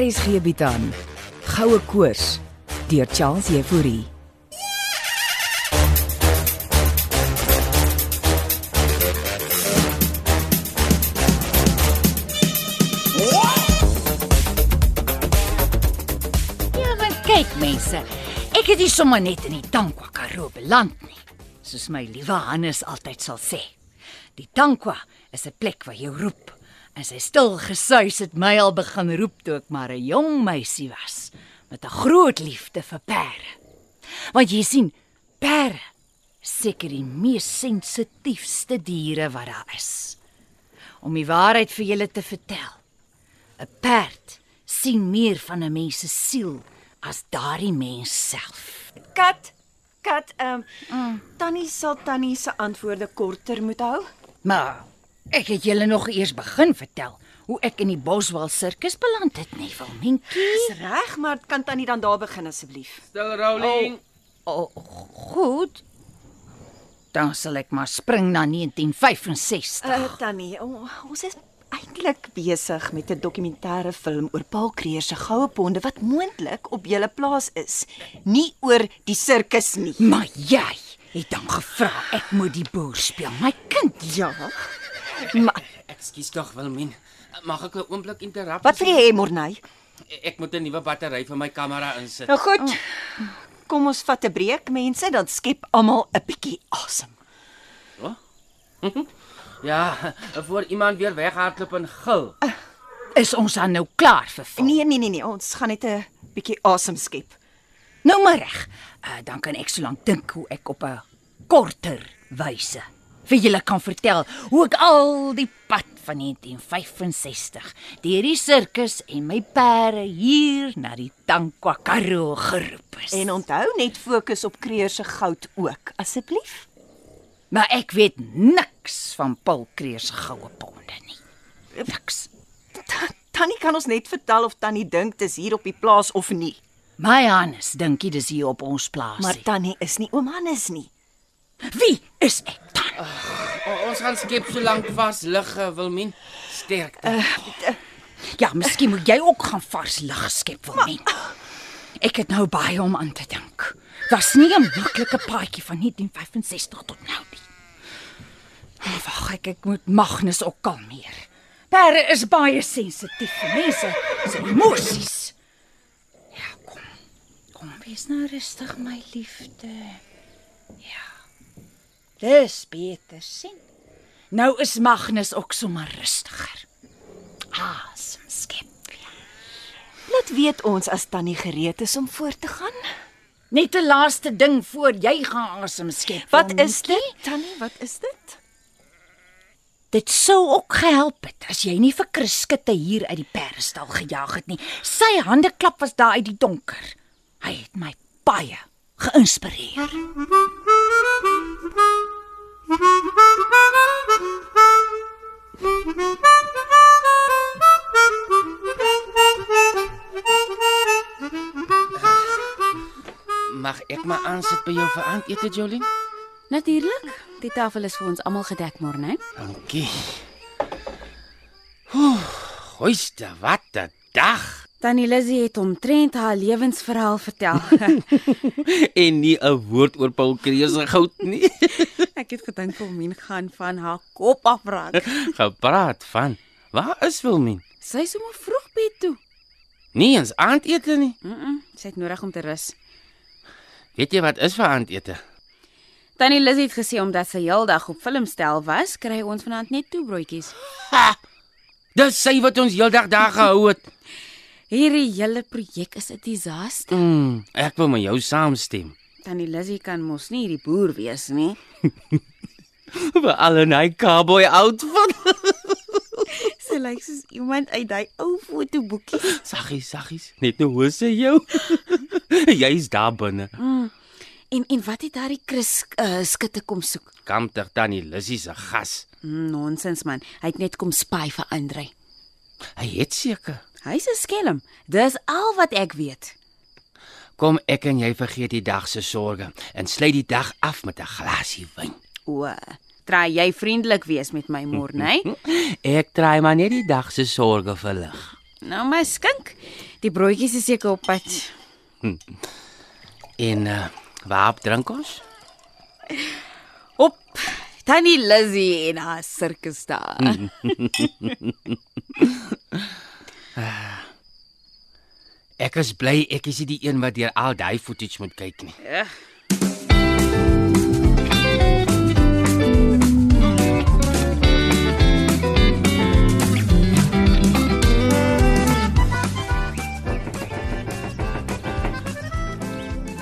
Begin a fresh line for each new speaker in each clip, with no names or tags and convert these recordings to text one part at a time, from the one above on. RSG bied aan Goue Koors deur Charles Euphorie.
Ja, maar kyk mense, ek het nie sommer net in die Tankwa Karoo beland nie, soos my liewe Hannes altyd sal sê. Die Tankwa is 'n plek waar jy roep. En sy stil gesuis het my al begin roep toe ek maar 'n jong meisie was met 'n groot liefde vir perde. Want jy sien, perde is seker die mees sensitiefste diere wat daar is. Om die waarheid vir julle te vertel, 'n perd sien meer van 'n mens se siel as daardie mens self.
Kat, kat, ehm um, Tannie sal Tannie se antwoorde korter moet hou.
Maar ek het julle nog eers begin vertel hoe ek in die Boswel sirkus beland het, nee, nie Wilmintjie?
Dis reg, maar kan Tannie dan daar begin asseblief?
Stil rolling.
O, goed. Dan sal ek maar spring na 1965.
Uh, tannie, o, ons is eintlik besig met 'n dokumentêre film oor Paul Kreer se goue ponde wat moontlik op julle plaas is, nie oor die sirkus nie.
Maar jy het dan gevra ek moet die boer speel, my kind.
Ja. Maar
Ekskuus tog, Wilmin. Mag ek 'n oomblik interrupt?
wat wil jy hê, Morney?
Ek moet 'n nuwe battery vir my kamera insit.
Nou goed. Kom ons vat 'n breek, mense, dan skep almal 'n bietjie asem.
Ja, voor iemand weer weghardloop en gil.
Is ons dan nou klaar vir film?
Nee, nee, nee, nee, ons gaan net 'n bietjie asem skep.
Nou maar reg. Uh, dan kan ek so lank dink hoe ek op 'n korter wyse vir julle kan vertel hoe ek al die pad van 1965 deur die sirkus en my perde hier na die Tankwa Karoo geroep is.
En onthou net fokus op Kreer se goud ook, asseblief.
maar ek weet niks van Paul Kreer se goue ponde nie. Niks.
Ta- Tannie kan ons net vertel of Tannie dink dis hier op die plaas of nie.
My Hannes dink jy dis hier op ons plaas.
Maar
nie.
Tannie is nie oom Hannes nie.
wie is ek dan?
O, ons gaan skep so lank vas lig, eh, Wilmin. Sterkte.
Eh.
Ja, miskien moet jy ook gaan vars lug skep wil men. Ek het nou baie om aan te dink. Was nie 'n maklike paadjie van 1965 tot nou nie. Maar Wag, ek ek moet Magnus ook kalmeer. Perde is baie sensitief vir mense se emosies. Ja, kom. Kom wees nou rustig my liefde. Ja. Dis beter sien. Nou is Magnus ook sommer rustiger. Asem skep.
Laat weet ons as Tannie gereed is om voort te gaan.
Net 'n laaste ding voor jy gaan asem skep.
Wat
Wilmien.
is dit? Tannie, wat is dit?
Dit sou ook gehelp het as jy nie vir Kriskitte hier uit die perdestal gejaag het nie. Sy hande klap was daar uit die donker. Hy het my baie geïnspireer.
Mag ek maar aansit by jou vir aandete, Jolien?
Natuurlik. Die tafel is vir ons almal gedek môre, né?
Dankie. Hoe, hoiste, wat 'n dag.
Tannie Lizzie het omtrent haar lewensverhaal vertel.
En nie 'n woord oor Paul Kreer se goud nie.
ek het gedink Wilmien gaan van haar kop af raak.
Gepraat van. Waar is Wilmin?
Sy is sommer vroeg bed toe.
Nie eens aandete nie.
Mm, -mm sy het nodig om te rus.
Weet jy wat is vir aandete?
Tannie Lizzie het gesê omdat sy heeldag op filmstel was, kry ons vanaand net toe broodjies.
Dis sy wat ons heeldag daar gehou het.
Hierdie hele projek is 'n disaster.
Mm, ek wil met jou saamstem.
Tannie Lizzie kan mos nie hierdie boer wees nie.
Vir al 'n hy cowboy outfit.
Sy lyk soos iemand uit daai ou fotoboekie.
Saggies, saggies. Net nou hoor sy jou. Jy's daar binne.
En en wat het daardie Chris uh, skitte kom soek?
Kamptig tannie Lissy se gas.
Mm, Nonsens man, hy het net kom spy vir Andre.
Hy het seker.
Hy's 'n skelm. Dis al wat ek weet.
Kom ek en jy vergeet die dag se sorges en sluit die dag af met 'n glasie wyn.
O, try jy vriendelik wees met my môre, né?
Ek draai maar net die dag se sorges verlig.
Nou my skink, die broodjies is seker op pad.
En uh, waarop drink ons?
Op Tannie Lizzy en haar sirkus daar.
Ek is bly ek is nie die een wat deur al daai footage moet kyk nie.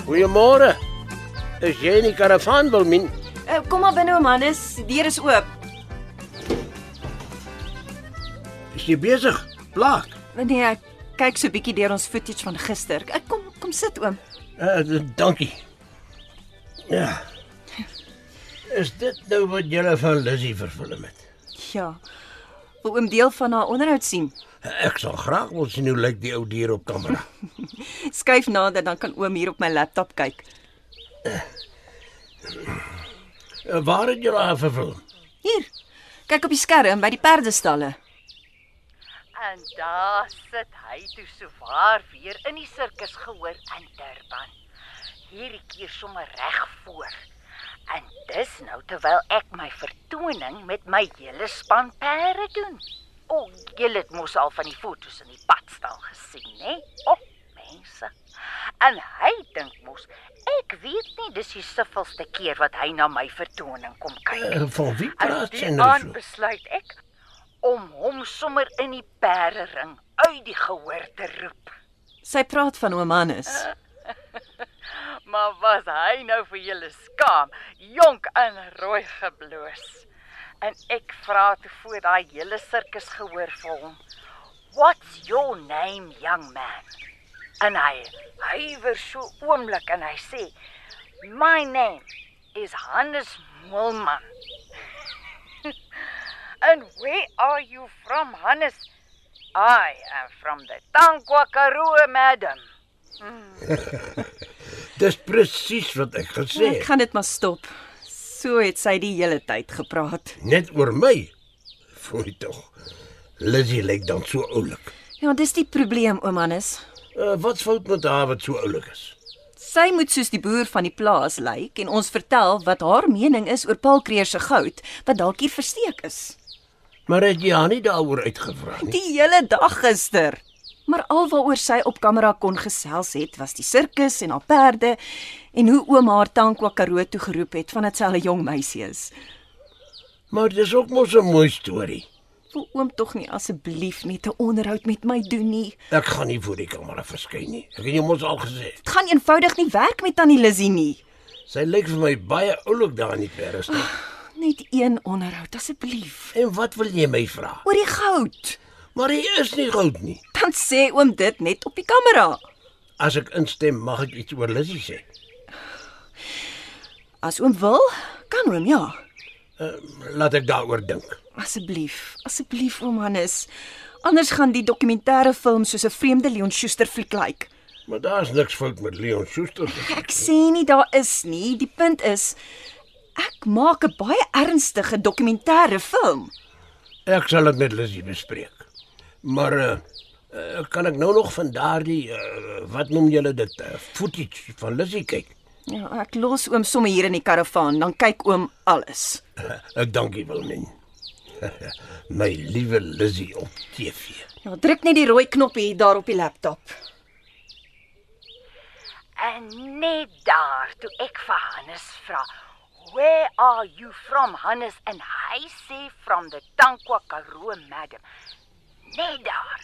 Goeiemôre. Is jy in die karavaan wil min?
Uh, kom maar binne, Johannes, die deur is oop.
Is jy besig? Plaak.
Nee, ek kyk so bietjie deur ons footage van gister. Ek kom kom sit oom.
Uh, d- dankie. Ja. Is dit nou wat jy van Lizzie verfilm het?
Ja. Wil oom deel van haar onderhoud sien?
Ek sal graag wil sien hoe lyk die ou dier op kamera.
Skuif nader dan kan oom hier op my laptop kyk.
Uh, waar het jy haar verfilm?
Hier. Kyk op die skerm by die perdestalle.
En daar sit hy toe sowaar weer in die sirkus gehoor in Durban. Hierdie keer sommer reg voor. En dis nou terwyl ek my vertoning met my hele span perde doen. O, oh, julle het mos al van die fotos in die padstal gesien, hè? O, oh, mense. En hy dink mos ek weet nie dis die siffelste keer wat hy na my vertoning kom kyk. nie.
Uh, van wie
En
praat sy
die
nou
aand
so?
besluit ek om hom sommer in die perering uit die gehoor te roep.
Sy praat van oom Hannes.
Eh. Maar was hy nou vir julle skaam, jonk en rooi gebloos. En ek vra toe voor daai hele sirkus gehoor vir hom. What's your name, young man? En hy huiwer so oomblik en hy sê, "My name is Hannes Moelman." and where are you from, Hannes? I am from the Tankwa Karoo, madam.
Dis presies wat ek gesê
Nou, Ek
het.
gaan dit maar stop. So het sy die hele tyd gepraat.
Net oor my. Fooi tog. Lizzie lyk dan so oulik.
Ja, dis die probleem, oom Hannes.
Uh, wat fout met haar wat so oulik is?
Sy moet soos die boer van die plaas lyk en ons vertel wat haar mening is oor Paul Kreer se goud wat dalk hier versteek is.
Maar het jy haar nie daaroor uitgevra nie?
Die hele dag gister. Maar alwaaroor sy op kamera kon gesels het, was die sirkus en haar perde en hoe oom haar Tankwa Karoo toe geroep het vandat sy al 'n jong meisie is.
Maar dis ook mos 'n mooi storie.
Wil oom tog nie asseblief net 'n onderhoud met my doen nie.
Ek gaan nie voor die kamera verskyn nie. Ek het jou mos al gesê.
Dit gaan eenvoudig nie werk met Tannie Lizzie nie.
Sy lyk vir my baie oulik daar in die perestad.
Net een onderhoud asseblief.
En wat wil jy my vra?
Oor die goud.
Maar hy is nie goud nie.
Dan sê oom dit net op die kamera.
As ek instem, mag ek iets oor Lizzie sê.
As oom wil, kan oom ja.
Laat ek daaroor dink.
Asseblief, asseblief oom Hannes. Anders gaan die dokumentêre film soos 'n vreemde Leon Schuster fliek lyk. Like.
Maar daar's niks fout met Leon Schuster.
Ek sê nie daar is nie, die punt is ek maak 'n baie ernstige dokumentêre film.
Ek sal dit met Lizzie bespreek. Maar uh, uh, kan ek nou nog van daardie uh, wat noem julle dit? Uh, footage van Lizzie kyk.
Ja, ek los oom sommer hier in die karavaan, dan kyk oom alles.
Ek dankie wil nie. my liewe Lizzie op TV.
Ja, druk net die rooi knoppie daar op die laptop.
En net daar toe ek vir Hannes vra, "Where are you from, Hannes?" en hy sê from the Tankwa Karoo, madam. Net daar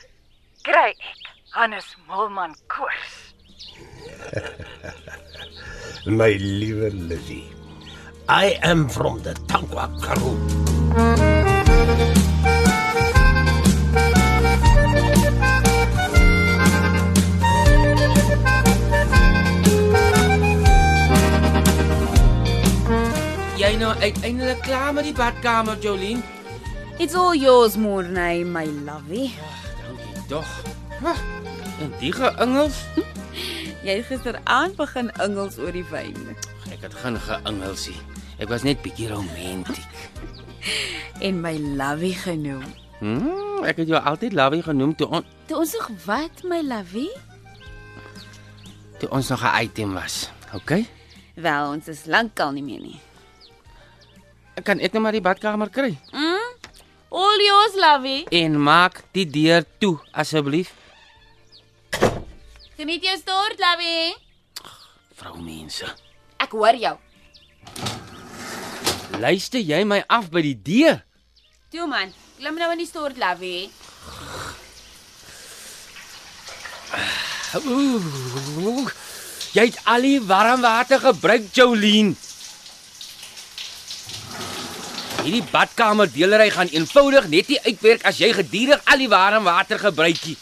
kry ek Hannes Mulman koers.
My liewe Lizzie. I am from the Tankwa Karoo.
Jy nou uiteindelik klaar met die badkamer, Jolien?
It's all yours, Morney, my lovey.
Dankie tog. Huh, En die geingels?
Jy het gisteraand begin ingels oor die wyn
Ek het geen geingelsie. Ek was net bietjie romantiek.
en my lovey genoem.
Hmm. Mm, ek het jou altyd Lawie genoem toe, on,
Toe ons nog wat, my lovey?
toe ons nog 'n item was. OK?
Wel, ons is lankal nie meer nie.
Kan ek net maar die badkamer kry?
All yours, lovey.
En maak die deur toe asseblief.
Geniet jou stort, lovey.
Vroumense,
Ek hoor jou.
luister jy my af by die deur?
Toe man, klim nou in die stort, lovey.
Ooh. Jy het al die warm water gebruik, Jolien. Hierdie badkamer deelery gaan eenvoudig net nie uitwerk as jy gedurig al die warm water gebruik nie.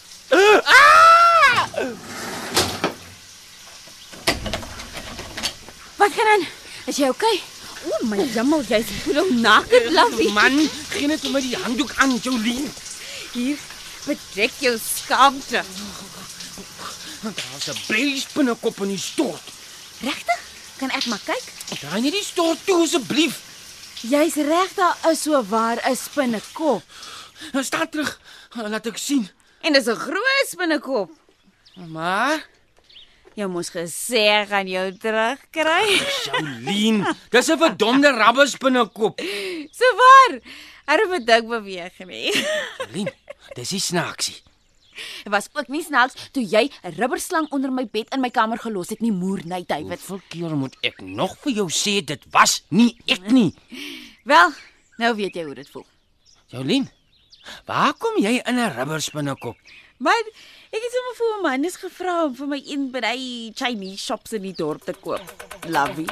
Wat gaan aan? Is jy okay? O my jammel, jy's bloedig naked, lovey.
Man, gee net vir my die handdoek aan, Jolien.
Hier, bedek jou skaamte.
Daar's 'n blaasbinnekop in die stort.
Regtig? Kan ek maar kyk?
Draai net die stort toe asseblief.
Jy's reg, daar is so waar 'n spinnekop.
Staan terug, laat ek sien.
En dis 'n groot spinnekop.
Maar
Jy moes gesê ek gaan jou terugkry.
Jolien, dis 'n verdomde rabbesbinnekop.
So waar. Hulle het dik beweeg nie.
Jolien, dis nie snaaksie.
Dit was ook nie snaaks toe jy 'n rubberslang onder my bed in my kamer gelos het nie, moer nie, David.
Hoeveel keer moet ek nog vir jou sê dit was nie ek nie?
Wel, nou weet jy hoe dit voel.
Jolien, waar kom jy in 'n rubbersbinnekop?
Maar ek het sommer vir 'n man is gevra om vir my een by die Chinese shops in die dorp te koop. Lovey.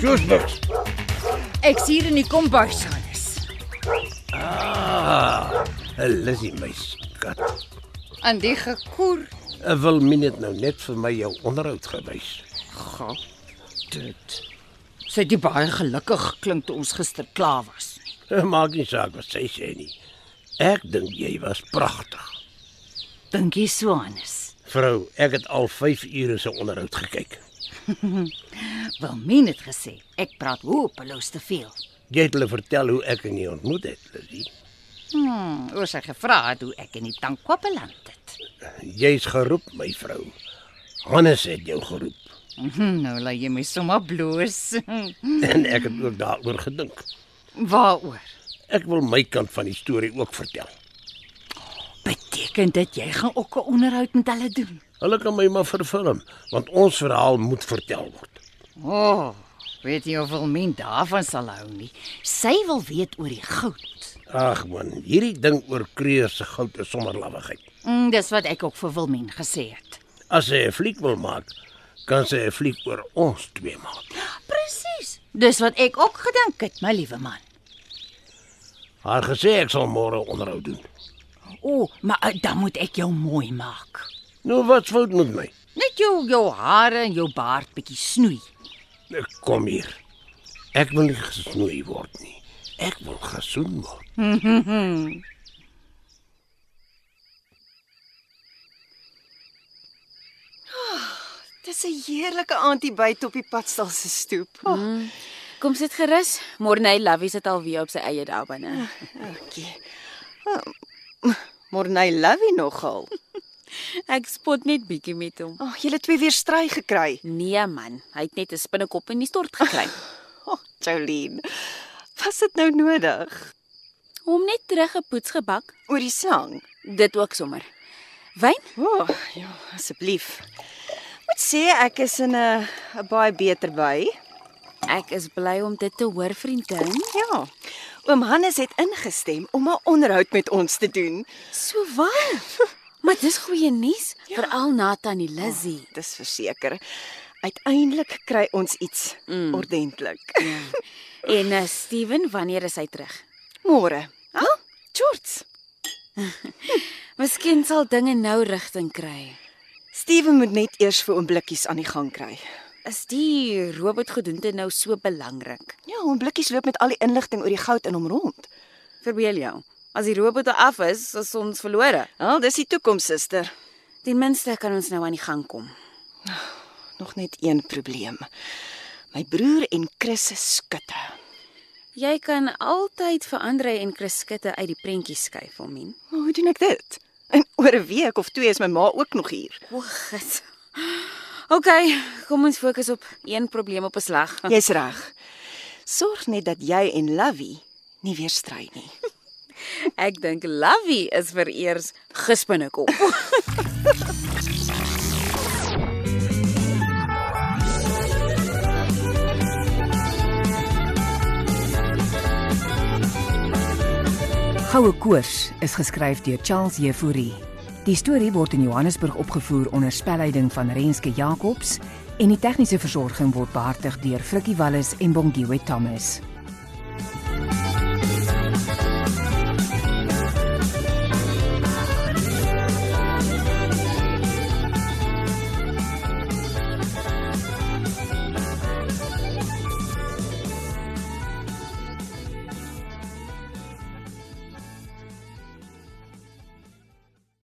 Soos niks.
Ek's hier in die kombuis Hannes.
Ah, Lizzie my skat.
Aan die gekoer.
Wil min dit nou net vir my jou onderhoud gewys.
God. Dit. Sy het nie baie gelukkig geklink toe ons gister klaar was nie.
Eh, Maak nie saak wat sy sê nie. Ek dink jy was pragtig.
Dink jy so Hannes?
Vrou, ek het al 5 ure se onderhoud gekyk.
Wilmien het gesê ek praat hopeloos te veel.
Jy het hulle vertel hoe ek en jy ontmoet het, Lizzie.
Hmm, oor sy gevra het hoe ek in die tankwa beland het.
Jy's geroep, my vrou. Hannes het jou geroep
Mhm, nou laat jy my sommer bloos. Hm.
en ek het ook daaroor gedink.
Waaroor?
Ek wil my kant van die storie ook vertel.
Beteken dit jy gaan ook 'n onderhoud met hulle doen?
Hulle kan my maar vervilm, want ons verhaal moet vertel word.
O, oh, weet jy of Wilmien daarvan sal hou nie. Sy wil weet oor die goud.
Ag man, hierdie ding oor Kreer se goud is sommer lawwigheid.
Mm, dis wat ek ook vir Wilmien gesê het.
As sy 'n fliek wil maak, kan sy 'n fliek oor ons twee maak.
Presies. Dis wat ek ook gedink het, my liewe man.
Haar gesê ek sal môre onderhou doen.
O, oh, maar eh, dan moet ek jou mooi maak.
Nou wat fout met my?
Net jou jou hare en jou baard bietjie snoei.
Kom hier. Ek wil nie gesnoei word nie. Ek wil gesoen word.
Dis 'n heerlike aand hier buite op die padstal se stoep. Oh,
Kom sit gerus. Morney Lovey sit al weer op sy eie daar binne.
Ah,
dankie. Oh, Morney love jy nogal.
Ek spot net bietjie met hom.
Ag, oh, julle twee weer stry gekry.
Nee man, hy het net 'n spinnekop in die stort gekry.
O, oh, Jolene. Was dit nou nodig?
Hom net teruggepoets gebak.
Oor die slang.
Dit ook sommer. Wyn?
O, oh, ja, asseblief. Moet sê ek is in 'n 'n baie beter by.
Ek is bly om dit te hoor, vriendin.
Ja. Oom Hannes het ingestem om 'n onderhoud met ons te doen.
So waar. Maar dis goeie nuus, ja. veral na tannie Lizzy.
Dis verseker. Uiteindelik kry ons iets mm. ordentlik.
En uh, Steven, wanneer is hy terug?
Môre. Ah, huh? George.
Miskien sal dinge nou rigting kry.
Steven moet net eers vir oomblikkies aan die gang kry.
Is die robotgedoente nou so belangrik?
Ja, oomblikkies loop met al die inligting oor die goud in hom rond.
Verbeel jou, as die robotte af is, is ons verlore.
Wel, dis die toekoms, suster.
Ten minste kan ons nou aan die gang kom.
Nog net een probleem. My broer en Chris se skutte.
Jy kan altyd vir Andre en Chriskitte uit die prentjie skuif, Wilmien.
Maar hoe doen ek dit? In oor 'n week of twee is my ma ook nog hier.
O, gits. OK, kom ons fokus op een probleem op 'n slag.
Jy's reg. Sorg net dat jy en Lovey nie weer stry nie.
Ek dink Lovey is vereers gespinnekop.
Goue Koors is geskryf deur Charles Jefouri. Die storie word in Johannesburg opgevoer onder spelleiding van Renske Jacobs en die tegniese versorging word behartig deur Frikkie Wallis en Bongwe Thomas.